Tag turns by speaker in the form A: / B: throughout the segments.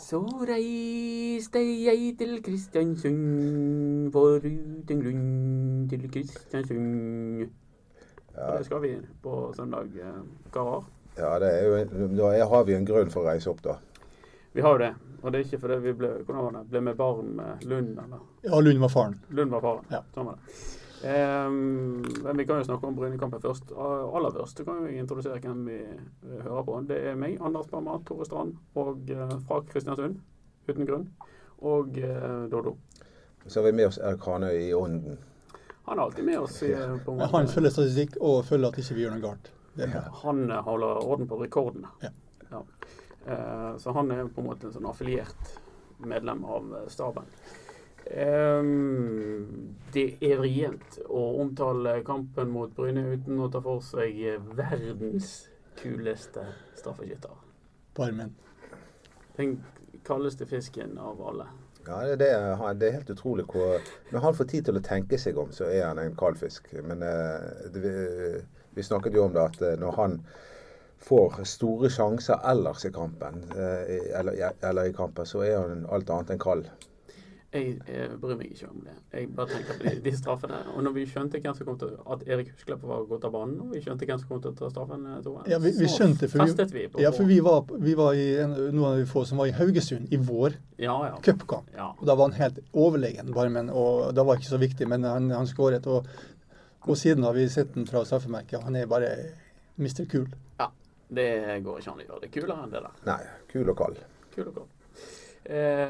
A: Så reiste jeg til Kristiansund, foruten grunn til Kristiansund. Og
B: Ja,
A: Det skal vi på søndag, eh, karer.
B: ja det er jo, en- da er- har vi en grunn for å reise opp, da.
A: Vi har jo det. Og det er ikke fordi vi ble, hvordan var det? ble med barn med Lund, eller?
C: Ja, Lund var faren.
A: Lund var faren.
C: Ja.
A: Sånn var det. Ehm, men vi kan jo snakke om Brynekampen først. A- Aller først så kan vi introdusere hvem vi eh, hører på. Det er meg, Anders Berma, Tore Strand, og eh, fra Kristiansund, uten grunn. Og eh, Dodo.
B: Så har vi med oss Erik Hanøy i Ånden.
A: Han er alltid med oss. I, på en måte.
C: Han følger statistikk og følger at ikke vi gjør noe galt. Det er bra.
A: Han eh, holder orden på rekordene.
C: Ja.
A: Ja. Eh, så han er på en måte en sånn affiliert medlem av eh, staben. Ehm, det er vrient å omtale kampen mot Bryne uten å ta for seg eh, verdens kuleste straffeskytter.
C: Barmen.
A: Den kaldeste fisken av alle.
B: Ja, det, det, er- han- det er helt utrolig hvor Når han får tid til å tenke seg om, så er han en kaldfisk. Men eh, det, vi, vi snakket jo om det at eh, når han får store sjanser ellers i kampen, eh, i- eller, i- eller i kampen, så er han alt annet enn kald.
A: Jeg, eh, bryr meg ikke om det. Jeg bare tenker på de, de straffene. Og når vi skjønte hvem som kom til at Erik Husklepp var gått av banen, og vi skjønte hvem som kom til å ta straffen, eh, Tore,
C: Ja, vi- vi
A: så
C: skjønte, for vi-
A: festet vi på
C: Ja, for vi var, vi var i en, noen av de få som var i Haugesund i vår
A: Ja, ja.
C: cupkamp.
A: ja.
C: Og Da var han helt overlegen, Barmen, og det var ikke så viktig, men han, han skåret. Og, og siden har vi sett den fra straffemerket. Han er bare Mr. Cool.
A: ja. Det går ikke an å gjøre det kulere enn det der.
B: Nei, kul og kald.
A: Kul og kort. Eh,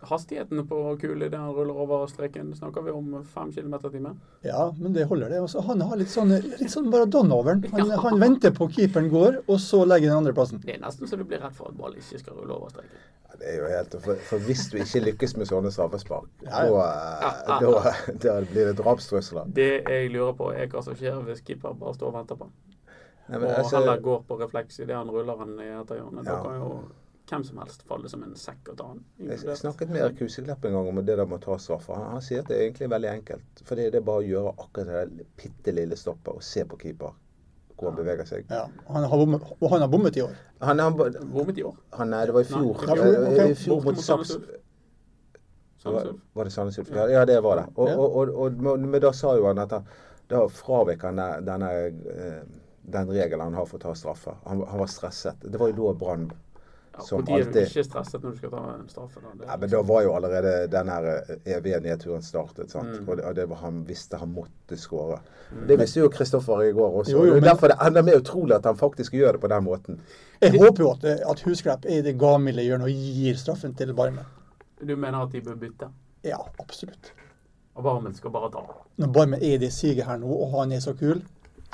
A: hastigheten på kul idet han ruller over streken, snakker vi om fem kilometer i timen.
C: Ja, men det holder, det. Også, han har litt sånn, litt sånn maradona over den. Han, han venter på keeperen går, og så legger han andreplassen.
A: Det er nesten så du blir redd for at ballen ikke skal rulle over streken.
B: Ja, Det er jo helt, for, for hvis du ikke lykkes med sånne straffespark,
C: Ja,
B: da,
C: ja.
B: eh, da, da blir det drapstrusler.
A: Det jeg lurer på, er hva som skjer hvis keeper bare står og venter på han.
B: Nei,
A: Og
B: men altså,
A: heller går på refleks idet han ruller han i etter hjørnet. Da
B: Ja.
A: kan jo hvem som helst falle som en sekk og ta han.
B: jeg
A: inkludert-
B: snakket med Erik Huseklepp en gang om det der med å ta straffer. Han, han sier at det er egentlig veldig enkelt. Fordi det er bare å gjøre akkurat det der bitte lille stoppet og se på keeper hvor han beveger seg.
C: Ja, han har bommet, og han har bommet i år.
B: Han, han,
A: Bommet i år.
B: han Nei, det var i fjor.
A: Nei.
B: Eh,
C: Ok.
B: I fjor
A: Borte
B: mot
A: mot Sandnes
B: Saks.
A: Ulf. Sandnes
B: Var,
A: Ulf.
B: var det Sandnes Ulf? Ja, ja, det var det. Og,
C: Ja.
B: og, og, og, men- men da sa jo han at han, da fravek han den- denne, eh, den regelen han har for å ta straffe. Han, han var stresset. Det var jo da Brann
A: Ja,
B: Som
A: fordi er du
B: alltid.
A: ikke stresset når du skal ta en straffe. Da. Det,
B: ja, Men da var jo allerede den her eh, evige nedturen startet. sant?
C: Mm.
B: Og, det, og det var, han visste han måtte skåre. Det visste jo Kristoffer i går også.
C: Jo,
B: det er
C: jo,
B: jo
C: men-
B: derfor det er enda mer utrolig at han faktisk gjør det på den måten.
C: Jeg håper jo at, at Husklepp er i det gavmilde hjørnet og gir straffen til Barmen.
A: Du mener at de bør bytte?
C: Ja, absolutt.
A: Og Barmen skal bare ta den?
C: Når Barmen er i det siget her nå, og han er så kul,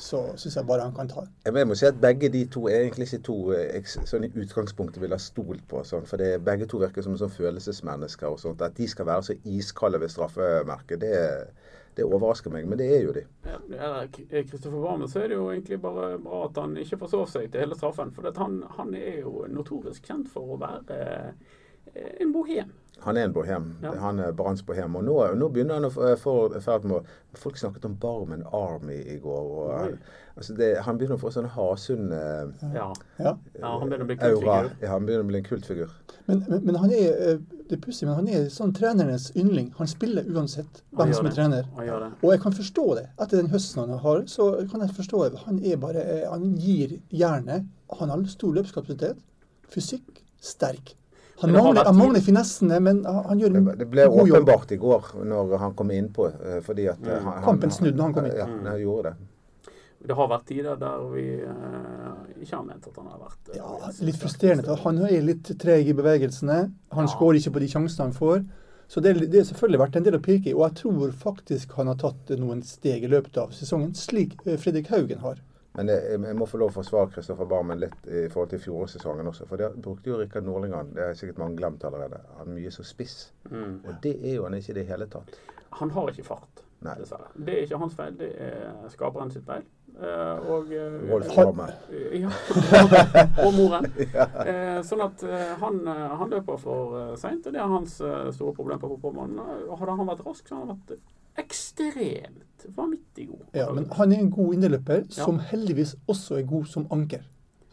C: så syns jeg bare han kan ta den.
B: Ja, men Jeg må si at begge de to er egentlig ikke to eh, jeg s- sånn i utgangspunktet ville ha stolt på. Sånn, for det, begge to virker som sånn følelsesmennesker. og sånt, At de skal være så iskalde ved straffemerket, det, det overrasker meg. Men det er jo de.
A: Ja, ja, K- Kristoffer Barmen så er det jo egentlig bare bra at han ikke forsov seg til hele straffen. For at han, han er jo notorisk kjent for å være eh, en bohem.
B: Han er en bohem.
A: Ja.
B: Han er Branns bohem. Og nå, nå begynner han å få- eh, få ferd med å Folk snakket om Barmen Army i går. og
A: Oi.
B: han, altså det, han begynner å få sånn Hasund eh,
A: Ja.
C: Ja.
A: ja, han begynner å bli
B: aura.
A: kultfigur.
B: Ja, han begynner å bli en kultfigur.
C: Men, men, men han er eh, det er pussig, men han er sånn trenernes yndling. Han spiller uansett
A: Han
C: hvem
A: gjør
C: som er
A: det.
C: trener.
A: Han gjør det.
C: Og jeg kan forstå det. Etter den høsten han har, så kan jeg forstå det. Han er bare eh, Han gir jernet. Han har stor løpskapasitet. Fysikk. Sterk. Han
A: Men det har
C: mangler,
A: vært
C: han
A: tid.
C: mangler finessene, men han han gjør
B: Det,
C: en
B: var- det ble
C: Mm. god jobb.
B: åpenbart i går når han kom innpå. eh, Fordi at
A: Mm.
B: eh, han,
C: Kampen snudde når han kom inn.
B: Ja, han gjorde det.
A: Det har vært tider der vi eh, ikke har ment at han har vært eh,
C: Ja,
A: så
C: litt
A: sterk.
C: frustrerende. for Han er litt treg i bevegelsene.
A: Ja.
C: Han skårer ikke på de sjansene han får. Så det, det har selvfølgelig vært en del å pirke i. Og jeg tror faktisk han har tatt eh, noen steg i løpet av sesongen, slik eh, Fredrik Haugen har.
B: Men jeg, jeg- jeg må få lov å forsvare Kristoffer Barmen litt i forhold til fjorårssesongen også. For der brukte jo Rikard Norlingan, det har sikkert mange glemt allerede, han er mye som spiss.
A: Mm.
B: Og det er jo han ikke i det hele tatt.
A: Han har ikke fart,
B: Nei.
A: dessverre. Det er ikke hans feil, det er skaperen sitt feil. Eh, og eh,
B: Rolf
C: Har-
B: Barmen.
A: Ja. og moren. Eh, sånn at eh, han, eh, han løper for eh, seint, og det er hans eh, store problem på fotballbanen. Og Hadde han vært rask, så hadde han vært ekstremt vanvittig god.
C: Ja, men han er en god inneløper,
A: Ja.
C: som heldigvis også er god som anker.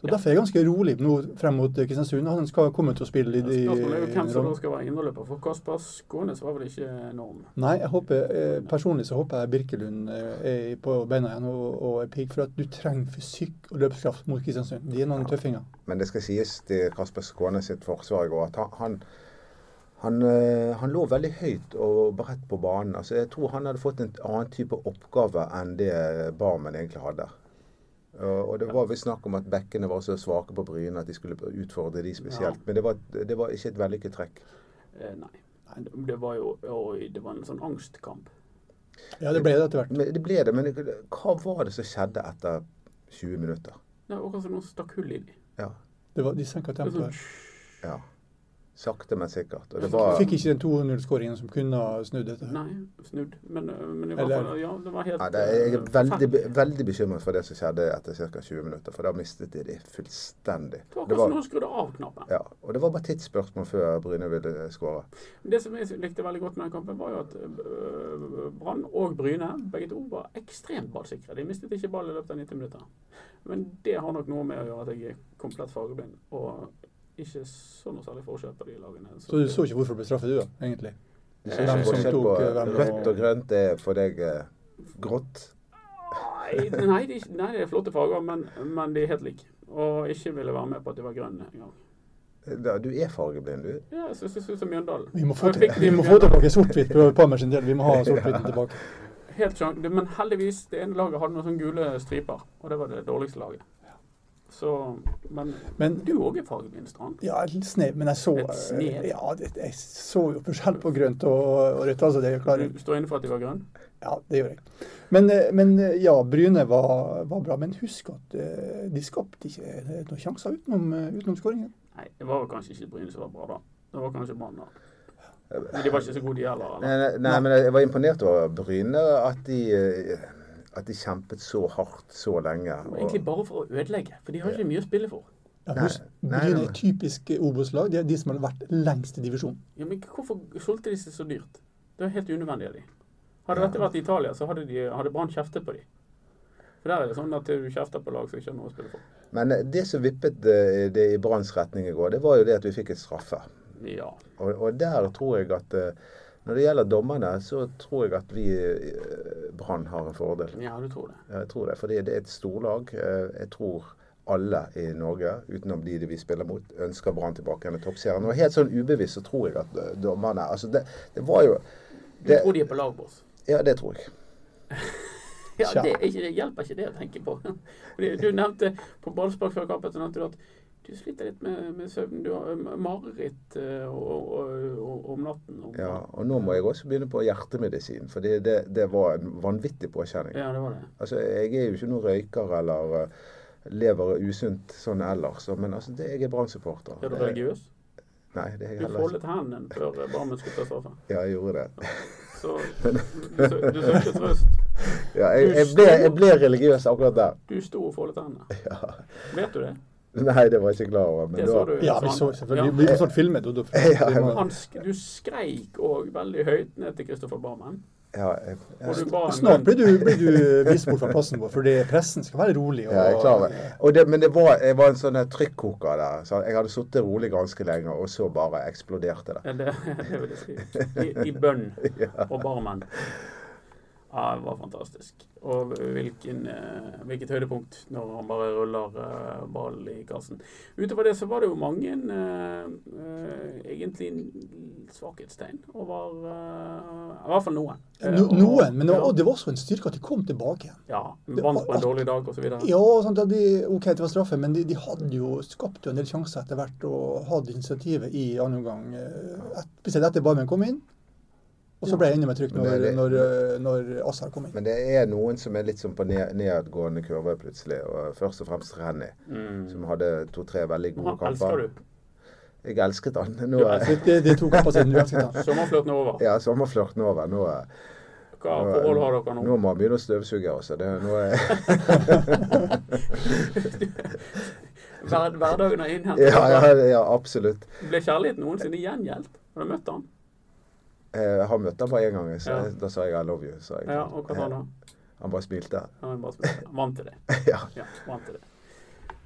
C: Så
A: Ja.
C: Derfor er jeg ganske rolig nå frem mot eh, Kristiansund. Han skal komme til å spille i de
A: Spørsmålet er jo hvem som da
C: rollene.
A: skal være inneløper. For Kasper Skånes var vel ikke norm.
C: Nei, jeg håper, eh, personlig så håper jeg Birkelund eh, er på beina igjen og, og er pigg. For at du trenger fysikk og løpskraft mot Kristiansund. De er noen tøffinger.
B: Men det skal sies til Kasper Skåne sitt forsvar i går at han, han, han, eh, han lå veldig høyt og bredt på banen. Altså, jeg tror han hadde fått en annen type oppgave enn det Barmen egentlig hadde. Og og det var visst snakk om at bekkene var så svake på Bryne at de skulle utfordre de spesielt. Men det var, det var ikke et vellykket trekk.
A: Eh, nei. Det var jo oi, det var en sånn angstkamp.
C: Ja, det ble det etter hvert.
B: Men det ble det. Men hva var det som skjedde etter 20 minutter?
A: Det var akkurat som noen stakk hull i dem. sånn,
B: Ja.
C: Det var, de senka tempoet.
B: ja. Sakte, men sikkert. Og det
C: Du
B: var
C: fikk ikke den 200-skåringen som kunne ha snudd dette.
A: Nei, snudd. Men, eh, men i hvert
C: Eller-
A: fall, ja, det var helt
B: Ja, det, jeg er
A: eh,
B: veldig,
A: forferdelig.
B: be- veldig bekymret for det som skjedde etter ca. 20 minutter, for da mistet de det fullstendig.
A: Det var
B: Det
A: akkurat som
B: var,
A: noen skrudde av knappen.
B: ja, og det var bare tidsspørsmål før Bryne ville skåre.
A: Det som jeg likte veldig godt med den kampen, var jo at eh, Brann og Bryne begge to var ekstremt ballsikre. De mistet ikke ball i løpet av 90 minutter. Men det har nok noe med å gjøre at jeg er komplett fargeblind og ikke så noe særlig forskjell på de lagene.
C: Så du så ikke hvorfor det ble straffe, du da, egentlig?
B: Du
A: Eh,
B: ser ikke
A: som
B: forskjell
C: tok,
B: på
C: eh, hvem
B: rødt
C: og-
B: og grønt er for deg eh, grått.
A: Nei, nei, de, nei, det er flotte farger, men, men de er helt like. Og ikke ville være med på at de var grønne engang.
B: Da, du er fargeblind, du.
A: Ja, jeg synes det ser ut som Mjøndalen.
C: Vi må
A: Og
C: få,
A: jeg
C: til,
A: fikk de
C: vi må få tilbake sort-hvitt på Palmer sin del. Vi må ha sort-hvitten tilbake.
A: Helt sjank, men heldigvis, det ene laget hadde noen sånne gule striper, og det var det dårligste laget. Så, men,
C: Men-
A: du òg er fargeblind, Strand.
C: Ja, et litt snev, men jeg så
A: Et snev?
C: Ja, det, jeg så jo forskjell på grønt og, og rødt. Altså, det klarer jeg.
A: Du står inne for at de var grønne?
C: Ja, det gjør jeg. Men, eh, men eh, ja, Bryne var, var bra. Men husk at eh, de skapte ikke eh, noen sjanser utenom, eh, utenom skåringen.
A: Nei, det var vel kanskje ikke Bryne som var bra, da. Det var kanskje Brann, da. Men de var ikke så gode, de heller.
B: Nei,
A: Eller?
B: nei, nei, men jeg var imponert over Bryne, at de, eh, at de kjempet så hardt så lenge.
A: Det var egentlig
B: Og,
A: bare for å ødelegge, for de har ikke mye å spille for.
C: Ja,
B: Nei,
C: husk,
B: nei,
C: Bryne
B: nei.
C: er et typisk eh, Obos-lag. Det er de som har vært lengst i divisjonen.
A: Ja, men hvorfor solgte de seg så dyrt? Det er helt unødvendig av de. Hadde
B: Ja.
A: dette vært i Italia, så hadde, de- hadde Brann kjeftet på de. For der er det sånn at du kjefter på lag som ikke har noe å spille for.
B: men eh, det som vippet eh, det i Branns retning i går, det var jo det at vi fikk et straffe.
A: Ja.
B: Og, og der tror jeg at eh, når det gjelder dommerne, så tror jeg at vi eh, Brann har en fordel.
A: ja, du tror det.
B: Ja, Jeg tror det, fordi det er et storlag. Eh, Jeg tror alle i Norge, utenom de vi spiller mot, ønsker Brann tilbake igjen i toppserien. Og helt sånn ubevisst så tror jeg at eh, dommerne Altså, det, det var jo
A: Du
B: det,
A: tror de er på lag med oss.
B: Ja, det tror jeg.
A: Ja,
C: Tja.
A: det, er ikke, det hjelper ikke det å tenke på. Fordi du nevnte på ballspark før kampen så nevnte du at du sliter litt med, med søvnen. Du har eh, mareritt eh, og, og, og, om natten. Om,
B: Ja, og nå må jeg også begynne på hjertemedisin, fordi det, det var en vanvittig påkjenning.
A: ja, det var det.
B: Altså, jeg er jo ikke noen røyker eller eh, lever usunt sånn ellers, så- men altså, det, jeg er Brann-supporter.
A: Er du
B: Det-
A: religiøs?
B: Nei, det er jeg
A: Du
B: heller ikke.
A: foldet hendene før eh, Barmen skulle ta straffe.
B: Ja, jeg gjorde det.
A: Så du sø- du søkte trøst.
B: Ja, jeg, jeg, ble, jeg ble religiøs akkurat der.
A: Du sto og foldet hendene.
B: Ja.
A: Vet du det?
B: Nei, det var jeg ikke klar over. Men
A: Det
B: det
A: så
B: var,
A: du.
C: Ja, vi
A: Strand.
C: så selvfølgelig.
A: Ja.
C: Vi ble snart sånn filmet. Odo.
B: Ja,
C: Vi må-
A: Han, sk- du skreik og veldig høyt ned til Kristoffer Barmen.
B: ja, jeg,
A: Og
B: jeg,
A: du ba en
C: Snart blir du, blir du vist bort fra plassen vår, fordi pressen skal være rolig. Og,
B: ja, jeg er klar over og det. Men det var, jeg var en sånn her trykkoker der. Så jeg hadde sittet rolig ganske lenge, og så bare eksploderte det.
A: Eh, Det, det vil jeg si. I, i bønn og Barmen. Ja, det var fantastisk. Og hvilken, eh, hvilket høydepunkt når han bare ruller eh, ball i kassen. Utover det så var det jo mange eh, eh, egentlig svakhetstegn over eh, I hvert fall noen. Eh,
C: No,
A: og-
C: noen, men det var,
A: ja.
C: og det var også en styrke at de kom tilbake igjen.
A: Ja. Vant på en dårlig dag, osv.
C: Ja, sant, ja, de, OK, det var straffe, men de, de hadde jo skapt jo en del sjanser etter hvert og hadde initiativet i annen omgang. eh, et- Spesielt etter Barmen kom inn. Og så ble jeg enda mer trykk
B: Men
C: når,
B: det er det-
C: når, eh, når Azar kom inn.
B: Men det er noen som er litt som på ned, nedadgående kurve plutselig. og Først og fremst Renny,
A: Mm.
B: som hadde to-tre veldig gode
A: Han elsker
B: kamper.
A: du.
B: Jeg elsket han. Nå,
A: Du elsket-
C: Det, det, det tok jeg på siden du elsket ham.
A: Sommerflørten er over.
B: ja, sommerflørten over. Nå,
A: Hva
B: nå,
A: forhold har dere nå?
B: nå må han begynne å støvsuge også. Det, nå er
A: Hver, hverdagen har innhentet
B: Ja,
A: dere.
B: ja, ja absolutt.
A: Ble kjærligheten noensinne gjengjeldt? Har du møtt han?
B: Jeg Eh, har møtt ham bare én gang. Så
A: Ja.
B: Da sa jeg 'I love you'. Sa jeg.
A: Ja, og hva sa han da?
B: Han bare smilte.
A: Han er bare spesiell. Han vant til det.
B: ja.
A: Ja, vant til det.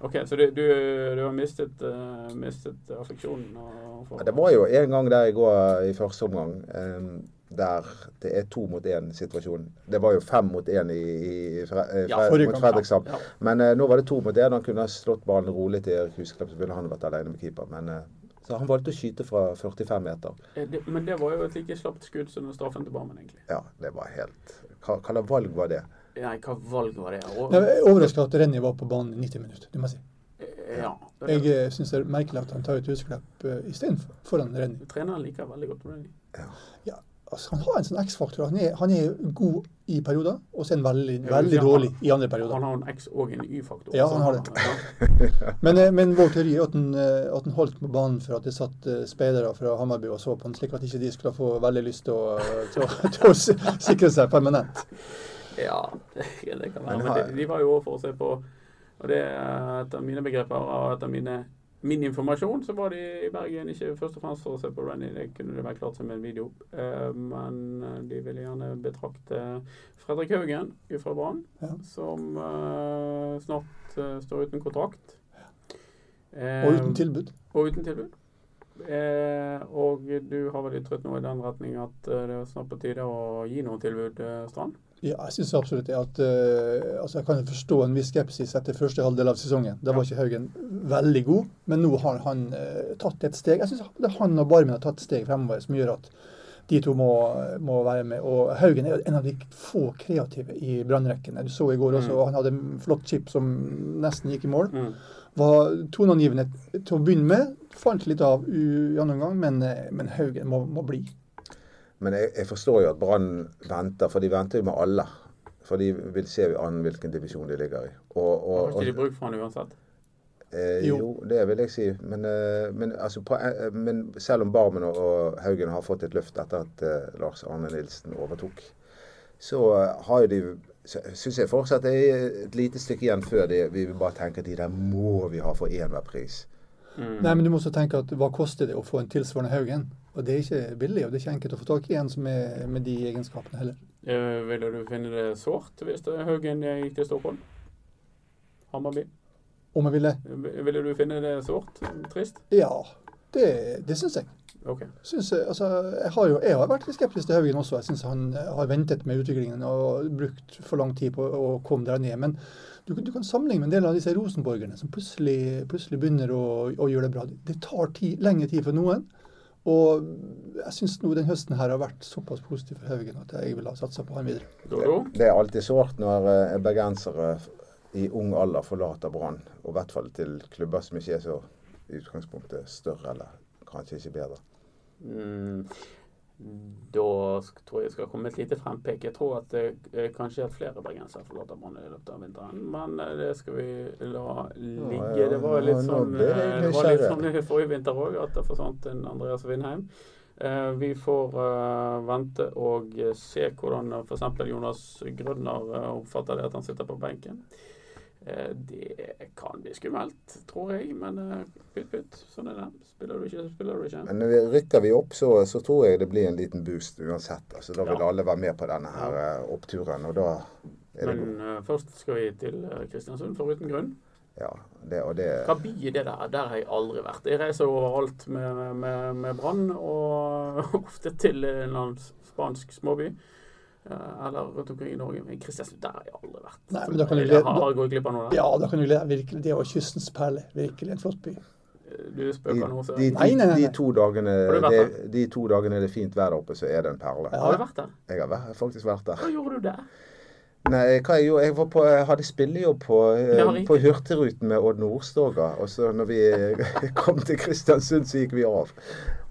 A: OK, så du, du, du har mistet, eh, mistet affeksjonen? og- for-
B: Ja, det var jo en gang der i går i første omgang, em, der det er to mot én-situasjon. Det var jo fem mot én i, i, Fre eh,
A: Ja,
B: Fre-
C: forrige
B: mot
C: kamp,
B: Fredrikstad.
A: ja.
B: Men eh, nå var det to mot én. Han kunne ha slått ballen rolig til Erik Husklepp, så ville han vært alene med keeper. Men, eh, så han valgte å skyte fra 45 meter.
A: Eh, det- Men det var jo et like slapt skudd som den straffen til Barmen, egentlig.
B: Ja, det var helt Hva hva slags valg var det?
A: Nei, hva valg var det? Og,
C: Jeg er overraska at Renny var på banen i 90 minutter, det må jeg si.
A: Eh, ja.
C: Jeg syns det er merkelig at han tar eh, ut Husklepp istedenfor foran Renny.
A: Treneren liker veldig godt Rooney.
C: Altså, han har en sånn X-faktor. Han, er- han er god i perioder, og så er han veldig,
A: Ja,
C: veldig
A: ja.
C: dårlig i andre
A: Han
C: perioder.
A: har en X og en Y-faktor.
C: Ja, han har det.
A: Ja.
C: Men, eh, men vår teori er at han, eh, at han holdt på banen for at det satt eh, speidere fra Hammarby og så på han, slik at ikke de skulle få veldig lyst til å, til å, til å s- sikre seg permanent.
A: ja, det, det kan være.
B: Men
A: Men,
B: har-
A: de, de var jo over for å se på Og det er etter mine begreper og etter mine, min informasjon, så var de i Bergen ikke først og fremst for å se på Renny. Det kunne det vært klart som en video. Eh, men de ville gjerne betrakte Fredrik Haugen fra Brann,
C: Ja.
A: som eh, snart eh, står uten kontrakt. Eh,
C: Og
A: Um,
C: uten tilbud.
A: Og uten tilbud. Eh, og du har vel ytret noe i den retning at eh, det er snart på tide å gi noe tilbud, eh, Strand?
C: Ja, jeg syns absolutt det. At, eh, altså jeg kan forstå en viss skepsis etter første halvdel av sesongen. Da var ikke Haugen veldig god, men nå har han eh, tatt et steg. Jeg syns han og Barmen har tatt et steg fremover som gjør at de to må, må være med. Og Haugen er jo en av de få kreative i brannrekkene. Du så i går også,
A: Mm.
C: og han hadde en flott chip som nesten gikk i mål.
B: Mm.
C: Var toneangivende til å begynne med. Fant litt av u- i andre omgang, men, eh, men Haugen må, må bli.
B: Men jeg, jeg forstår jo at Brann venter, for de venter jo med alle. For de vil se an hvilken divisjon de ligger i. Og, og,
A: Har ikke de
B: og,
A: bruk for han uansett?
B: eh,
C: Jo.
B: jo, det vil jeg si. Men, eh, men, altså, på, eh, men selv om Barmen og, og Haugen har fått et løft etter at eh, Lars Arne Nilsen overtok, så eh, har jo de Syns jeg fortsatt det er et lite stykke igjen før de, vi bare tenker at de der må vi ha for enhver pris.
A: Mm.
C: Nei, men du må også tenke at hva koster det å få en tilsvarende Haugen? Og det er ikke billig, og det er ikke enkelt å få tak i en som er med de egenskapene heller.
A: Eh, ville du finne det sårt hvis det- Haugen eh, gikk til Stockholm? Hammarby.
C: Om jeg ville?
A: Eh, Ville du finne det sårt? Trist?
C: Ja, det, det syns jeg.
A: OK.
C: Synes jeg, altså, jeg, har jo, jeg har vært litt skeptisk til Haugen også. Jeg syns han eh, har ventet med utviklingen og brukt for lang tid på å komme der ned. Men du, kan- du kan sammenligne med en del av disse rosenborgerne som plutselig, plutselig begynner å, å gjøre det bra. Det tar tid, lengre tid for noen. Og jeg syns den høsten her har vært såpass positiv for Haugen at jeg vil ha satsa på han videre.
A: Dodo?
B: Det er alltid sårt når eh, bergensere i ung alder forlater Brann, og i hvert fall til klubber som ikke er så i utgangspunktet større eller kanskje ikke bedre.
A: Mm. Da sk- tror jeg det skal komme et lite frempek. Jeg tror at eh, kanskje at flere bergensere forlater Brann i løpet av vinteren, men eh, det skal vi la
B: Ja,
A: ligge.
B: ja,
A: Det var jo
B: nå-
A: litt
B: nå
A: sånn,
B: ble jeg
A: eh, det var litt
B: nysgjerrig.
A: sånn i forrige vinter òg, at det forsvant en Andreas Vindheim. Eh, Vi får eh, vente og eh, se hvordan f.eks. Jonas Grønner eh, oppfatter det at han sitter på benken. Eh, Det kan bli skummelt, tror jeg, men eh, pytt pytt, sånn er det. Spiller du ikke, så spiller du ikke.
B: Men når vi- rykker vi opp, så, så tror jeg det blir en liten boost uansett. Altså, da vil
A: Ja.
B: alle være med på denne her eh, oppturen, og da er det
A: Men eh, først skal vi til eh, Kristiansund, for uten grunn.
B: Ja, det, og det
A: Hva by er det der? Der har jeg aldri vært. Jeg reiser overalt med, med, med Brann, og ofte til en eller annen spansk småby. eh, Eller rundt omkring i Norge. Men Kristiansund, der har jeg aldri vært.
C: Nei, men da kan du
A: jeg
C: glede-
A: har, har jeg gått glipp av noe der.
C: Ja, da kan du glede deg virkelig. Det var kystens perle. Virkelig en flott by.
A: Du
B: de,
A: spøker nå, så
B: de,
A: Har
C: Nei, nei, nei,
B: de,
C: nei.
B: to dagene,
A: Har du vært
B: det, de to dagene det er fint vær der oppe, så er det en perle.
C: Ja.
A: du vært der?
B: Jeg har væ- faktisk vært der.
A: Hva gjorde du der?
B: Nei, hva jeg gjorde? Jeg, var på, jeg hadde spillejobb på, eh,
A: Ja, riktig.
B: på Hurtigruten med Odd Nordstoga. Og så når vi eh, kom til Kristiansund, så gikk vi av.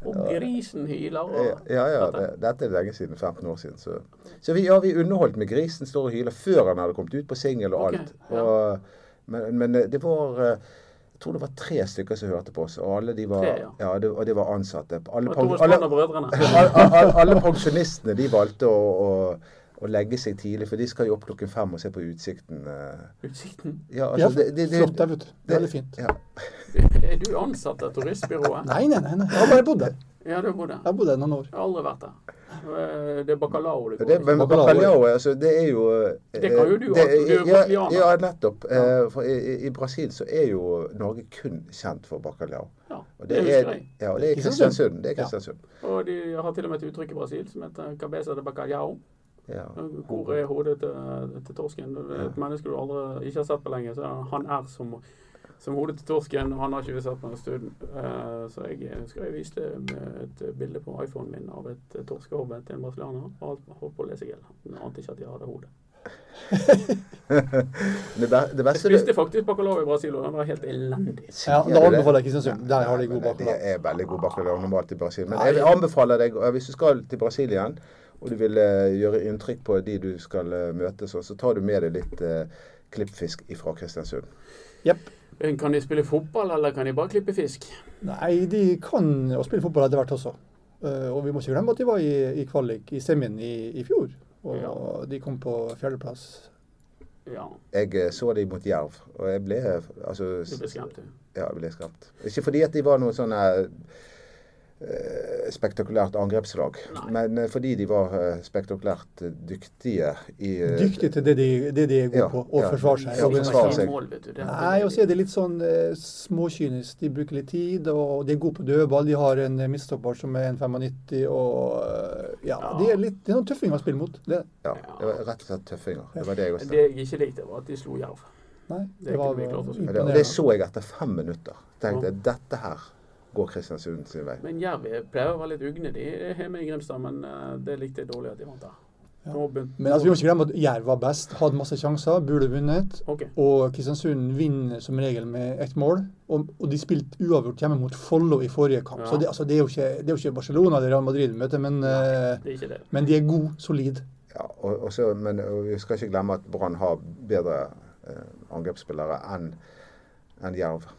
A: Og grisen hyler
B: Eh,
A: og
B: Ja, ja, det, Dette er lenge siden. 15 år siden. Så, så vi, ja, vi underholdt med grisen står og hyler før han hadde kommet ut på singel og
A: Ok,
B: alt.
A: ja.
B: Og, men, men eh, det var eh, jeg tror det var tre stykker som hørte på oss, og alle de var,
A: Tre, ja.
B: det, og de var ansatte. Alle,
A: Og
B: pen-
A: Tore
B: alle,
A: Strand og brødrene.
B: Al- al- al- Alle pensjonistene de valgte å, å, å legge seg tidlig, for de skal jo opp klokken fem og se på Utsikten. eh.
A: Utsikten.
B: Ja,
C: Ja,
B: altså, det, det, det,
C: flott der, vet du. Veldig fint.
B: Ja.
A: Er du ansatt av turistbyrået?
C: Nei, nei, nei. nei. Jeg har bare bodd der.
A: Ja, du bodde der.
C: Jeg har bodd der noen år.
A: Jeg har aldri vært der. Eh, Det er bacalao det
B: Ja,
A: går
B: Det, men
A: i.
C: Bacalao, ja.
B: bacalao altså, det er jo eh,
A: Det kan jo du,
B: det-
A: altså, du er
B: ja,
A: brasilianer.
B: Ja, nettopp. Eh, For i, i- I Brasil så er jo Norge kun kjent for bacalao.
A: Ja,
B: Og
A: det
B: det
A: husker
B: er,
A: jeg.
B: ja, og det er
C: Ikke sant?
B: Kristiansund. Det er
C: Ja.
B: Kristiansund.
A: Og de har til og med et uttrykk i Brasil som heter 'cabeza de bacalhao'.
B: Ja.
A: Hvor er hodet til, til torsken? Det er Et menneske du aldri ikke har sett på lenge. Så han er som, som hodet til torsken, og han har ikke vi sett på en stund. Eh, Så jeg husker jeg viste et bilde på iPhonen min av et torskehode til en brasilianer. Og han holdt på å lese gjeld. Han ante ikke at de hadde hodet.
B: Det, be- det beste
A: Jeg spiste faktisk bacalao i Brasil, og den var helt elendig.
B: Sier
C: Ja,
B: du
C: da
B: det?
C: anbefaler jeg Kristiansund. Der har de
B: Nei, men
C: god bacalao.
B: Det er veldig god bacalao normalt i Brasil. Men
C: Nei.
B: jeg anbefaler deg, og hvis du skal til Brasil igjen, og du vil eh, gjøre inntrykk på de du skal eh, møte, så, så tar du med deg litt eh, klippfisk fra Kristiansund.
C: Jepp.
A: Kan de spille fotball, eller kan de bare klippe fisk?
C: Nei, de kan å spille fotball etter hvert også. Eh, og vi må ikke glemme at de var i, i kvalik i semien i, i fjor. Og
A: Ja.
C: de kom på fjerdeplass.
A: Ja,
B: Jeg eh, så de mot jerv, og jeg ble eh, altså,
A: du ble skremt, du.
B: Ja, jeg ble skremt. Ikke fordi at de var noe sånn eh, eh, spektakulært angrepslag,
A: Nei.
B: men eh, fordi de var eh, spektakulært eh, dyktige i eh,
C: Dyktige til det de, det de er gode
B: Ja,
C: på, å
B: ja.
A: De
C: forsvare seg.
B: Ja,
A: sikrer
B: forsvare
A: ikke
B: seg.
A: mål, vet du. Det er-
C: Nei, og så er det litt sånn eh, småkynisk. De bruker litt tid, og de er gode på dødball. De har en eh, midtstopper som er en 95, og eh, ja,
A: Ja.
C: De er litt, det er noen tøffinger å spille mot. Det,
B: Ja, det var rett og slett tøffinger. Det var det jeg også
A: Det jeg ikke likte, var at de slo jerv.
C: nei,
A: Det
C: det
A: kunne
C: var
A: vi klart oss uten.
B: Men det, og det så jeg etter fem minutter. Tenkte jeg dette her går Kristiansund sin vei.
A: Men Jerv er- pleier å være litt ugne, de er hjemme i Grimstad, men eh, det likte jeg dårlig at de vant der.
C: Ja.
A: Nå begynte-
C: Men altså, vi må ikke glemme at Jerv var best, hadde masse sjanser, burde vunnet.
A: OK.
C: Og Kristiansund vinner som regel med ett mål. Og, og de spilte uavgjort hjemme mot Follo i forrige kamp.
A: Ja.
C: Så det, altså, det, er jo ikke, det er jo ikke Barcelona eller Real Madrid vi møter, men, eh,
A: Det er ikke det.
C: men de er gode, solide.
B: Ja, og, og så, men og vi skal ikke glemme at Brann har bedre eh, angrepsspillere enn enn Jerv.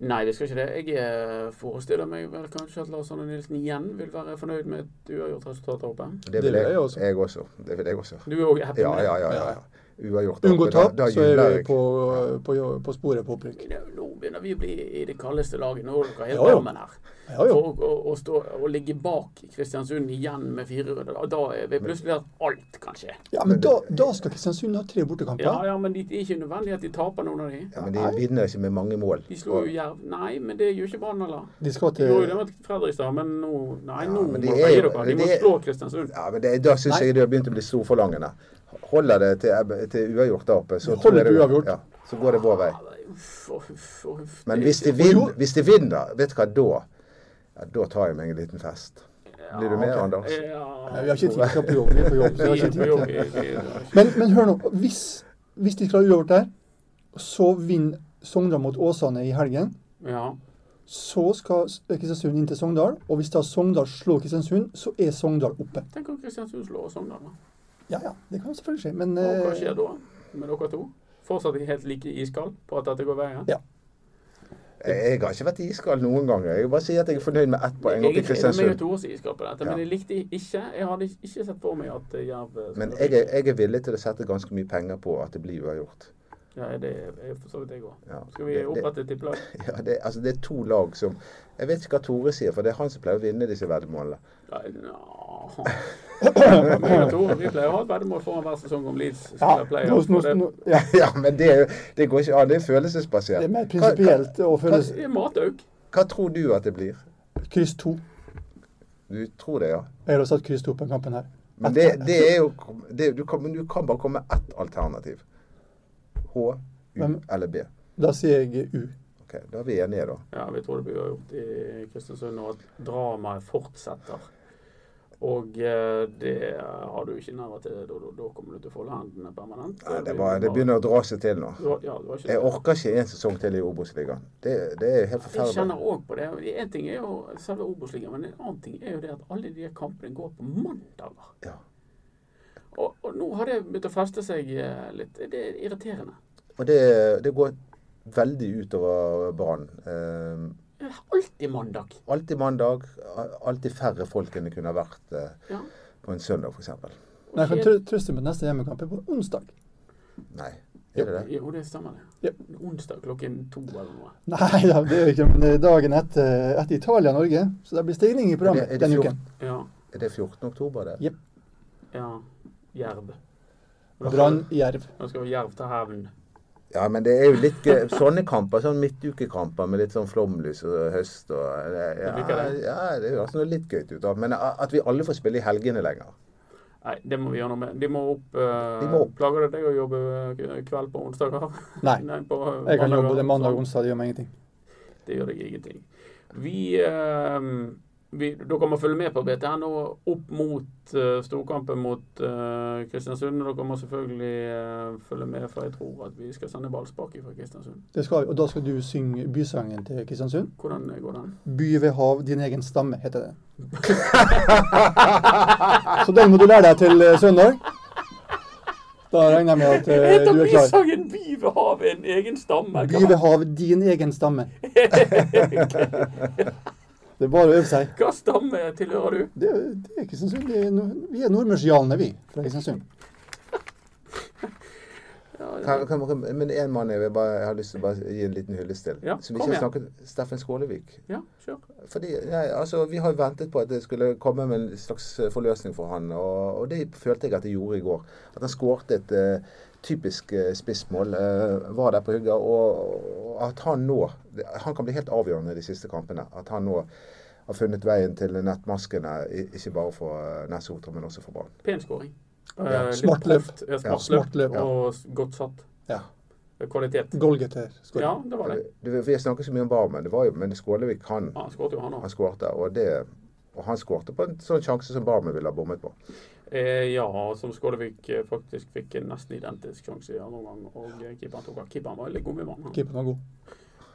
A: Nei, vi skal ikke det. Jeg eh, forestiller meg vel kanskje at Lars Arne Nilsen igjen vil være fornøyd med et uavgjort resultat der oppe.
B: Det vil jeg, også. jeg også. Det vil jeg også.
A: Du er òg happy
B: Ja,
A: med
B: ja, ja. ja, ja. Uavgjort.
C: Unngå
B: Da-
C: tap,
B: da
C: så er
B: jubler
C: vi
B: jeg.
C: på, på, på sporet på opprykk.
A: det? Nå begynner vi å bli i det kaldeste laget. Nå er dere helt
C: Ja, ja.
A: varmen her.
C: Ja, jo.
A: For å, å, å, stå, å ligge bak Kristiansund igjen med fire runder, da- da er vi plutselig der alt kan skje.
C: Ja, men da, da skal Kristiansund ha tre bortekamper.
A: Ja, ja, men det er ikke nødvendig at de taper noen av de.
B: Ja, men de vinner ikke med mange mål.
A: De slo jo Jerv. Nei, men det gjør ikke Brann, eller?
C: De skal
A: De
C: til
A: gjorde jo det med Fredrikstad, men nå Nei, nå
B: men
A: må
B: de
A: de
B: er
A: veie
B: jo-
A: dere. De må
B: de er-
A: slå Kristiansund.
B: Ja, men det, Da syns
C: Nei.
B: jeg det har begynt å bli storforlangende. Holder det til, til uavgjort der oppe, så,
C: Holder
B: tror jeg
C: til
B: det-
C: uavgjort.
B: Ja, så går det vår vei.
A: Uff og huff og huff.
B: Men
A: Det-
B: hvis de,
C: Og
B: vinner,
C: jo-
B: hvis de vinner, vet du hva da? Ja, da tar jeg meg en liten fest. Blir du med,
C: ok.
B: Anders?
C: Nei,
A: Ja,
C: Vi har ikke tid til å på jobb. Vi er på jobb, så vi har ikke
A: vi er på
C: tid
A: jobb
C: til
A: i- i-
C: Men, men hør nå. Hvis, hvis de klarer uavgjort der, så vinner Sogndal mot Åsane i helgen.
A: Ja.
C: Så skal Kristiansund inn til Sogndal, og hvis da Sogndal slår Kristiansund, så er Sogndal oppe.
A: Tenk om Kristiansund slår Sogndal, da.
C: Ja, ja, det kan jo selvfølgelig skje, men
A: Og Hva
C: eh,
A: skjer da med dere to? Fortsatt helt like iskald på at dette går veien?
C: Ja.
B: Jeg har ikke vært iskald noen gang. Jeg vil bare si at jeg er fornøyd med ett poeng opp i
A: Egentlig er det meg og
B: Kristiansund.
A: Tore som er iskald på dette, men
B: Ja.
A: jeg likte ikke Jeg hadde ikke sett for meg at eh, Jerv skulle
B: Men jeg er, jeg er villig til å sette ganske mye penger på at det blir uavgjort.
A: Ja, det er for så vidt jeg òg.
B: Ja.
A: Skal vi
B: Det- det-
A: opprette et tippelag?
B: Ja, det, altså det er to lag som Jeg vet ikke hva Tore sier, for det er han som pleier å vinne disse veddemålene.
A: Nei, nå. Meg og Tore, vi pleier å ha et veddemål foran hver sesong om Leeds
C: ja,
A: spiller
C: nå,
A: playoff.
C: nå,
A: og det-
C: nå, ja,
B: Ja, men det, er jo- det går ikke an. Det er
C: det
B: følelsesbasert.
C: er mer
B: Hva- hva,
C: prinsipielt å føle
A: Det er matauk.
B: hva tror du at det blir?
C: kryss to.
B: Du tror det, ja?
C: Jeg har også satt kryss to på den kampen her.
B: Men det, det er jo det, du, kan, men du kan bare komme med ett alternativ. H, U
C: Hvem-
B: eller B.
C: Da sier jeg U.
B: Ok, Da er vi enige, da.
A: Ja, vi tror det blir gjort i Kristiansund, og at dramaet fortsetter. Og eh, det har du ikke nerver til. Da, da, da kommer du til å folde hendene permanent.
B: Nei, det, var, det begynner å dra seg til nå.
A: Du har- Ja, du har ikke
B: Jeg orker ikke en sesong til i Obos-ligaen. Det, det er helt
A: Jeg
B: forferdelig.
A: kjenner òg på det. Én ting er jo selve Obos-ligaen, men en annen ting er jo det at alle de kampene går på mandager.
B: Ja.
A: Og, og nå har det begynt å feste seg eh, litt. Det er irriterende.
B: Og det, det går veldig utover Brann. Eh,
A: Det er alltid mandag.
B: alltid mandag. a- Alltid færre folk enn det kunne ha vært eh,
A: Ja.
B: på en søndag, f.eks.
C: Men jeg kan trø- trøste med at neste hjemmekamp er på onsdag.
B: Nei, er det det?
A: Jo, det stemmer det.
C: Ja.
A: Onsdag klokken to eller noe.
C: Nei eh, da, det er jo ikke men det er dagen etter, etter Italia-Norge. Så det blir
B: Er
C: stigning i
B: det,
C: programmet
B: er det
C: denne
B: fjor-
C: uken.
A: Ja.
B: Er det 14. oktober, det?
A: Ja. Jerv.
C: Brann, Jerv.
A: Nå skal vi jerv til hevn.
B: Ja, men det er jo litt gøy. Sånne kamper, sånn midtukekamper med litt sånn flomlys og høst og eh, Ja,
A: Du liker det?
B: ja det høres noe litt gøy ut. da. Men at vi alle får spille i helgene lenger.
A: Nei, det må vi gjøre noe med. De må opp. eh,
B: De må opp.
A: Plager det deg å jobbe eh, kveld på onsdager?
C: Nei.
A: Nei, på
C: Jeg kan
A: mandager.
C: jobbe både mandag og onsdag, det gjør meg ingenting.
A: Det gjør deg ingenting. Vi, eh, vi Dere må følge med på BTN og opp mot eh, storkampen mot eh, Kristiansund. Og dere må selvfølgelig eh, følge med, for jeg tror at vi skal sende ballspark fra Kristiansund.
C: Det skal, vi, og da skal du synge bysangen til Kristiansund.
A: Hvordan går den?
C: By ved hav, din egen stamme, heter den. Så den må du lære deg til eh, søndag. Da regner jeg med at eh, du er klar.
A: bysangen 'By ved havet', en egen stamme.
C: By ved hav, din egen stamme. Det er bare å øve seg.
A: Hva stamme tilhører du?
C: Det, det er Kristiansund. Det er, nord- vi er nordmørsjanene, vi, fra Kristiansund.
B: Kan, kan, kan, men én mann jeg, vil bare, jeg har lyst til å bare gi en liten hyllest til.
A: Ja,
B: som vi
A: kom
B: ikke har
A: igjen.
B: snakket Steffen Skålevik.
A: Ja, kjør.
B: Fordi, nei, altså, Vi har jo ventet på at det skulle komme med en slags eh, forløsning for han, og, og det følte jeg at det gjorde i går. At han skåret et eh, typisk eh, spissmål, eh, var der på hugget, og, og at han nå Han kan bli helt avgjørende de siste kampene. At han nå har funnet veien til nettmaskene, i- ikke bare for eh, Nessotra, men også for Brann.
A: Pen skåring.
B: Ja,
A: Eh, litt
C: smart løp.
A: proft. Ja,
B: Ja,
A: smart,
C: smart
A: løp.
C: løp, ja.
A: Og s- godt satt. eh,
C: Ja.
A: Kvalitet.
C: Golgeter.
A: Ja, det var det.
B: Du, Vi har snakket så mye om Barmen, det var jo, men Skålevik, han,
A: Ja, han skåret jo, han òg.
B: han skårte. Og, det- og han skårte på en sånn sjanse som Barmen ville ha bommet på.
A: Eh, ja, som Skålevik eh, faktisk fikk en nesten identisk sjanse i andre omgang. Og eh, keeperen tok av. Keeperen var litt god med vann. han.
C: Keeperen var god.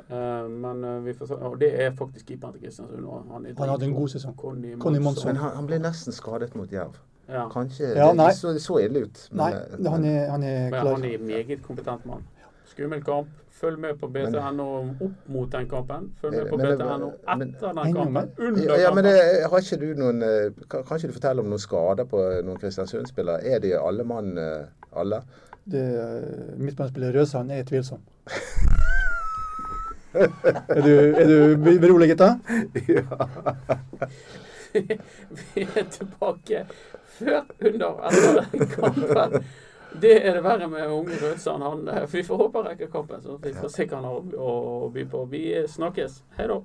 A: Eh, men eh, vi får se. Og det er faktisk keeperen til Kristiansund. og Han, er
C: Han hadde en
A: dritgod.
C: god sesong.
A: Conny
C: Conny
A: Monson.
B: Men han, han ble nesten skadet mot Jerv.
A: Ja.
B: Kanskje
C: Ja,
B: det,
C: nei.
B: så, det så ille ut. eh,
C: Nei, han er, han er
A: Men
C: klar.
A: han er en meget kompetent mann. Skummel kamp. Følg med på BTNO opp mot den kampen. Følg med på
B: Men- men-
A: BTNO
B: men-
A: etter den
C: Ennå
A: kampen.
C: mer?
A: Under
B: ja, ja, men det,
A: kampen.
B: har ikke du noen eh, kan, kan ikke du fortelle om noen skader på noen Kristiansund-spillere? Er de alle mann, eh, alle?
C: Det, eh, midtbanespiller Røsand er tvilsom. Er du, er du be- beroliget, da?
A: Vi er tilbake før, under, etter den kampen. Det er det verre med unge Rødsand. Han, sånn eh, vi får håpe han rekker kampen, så vi får se hva han har å- å by på. Vi snakkes. Hei da.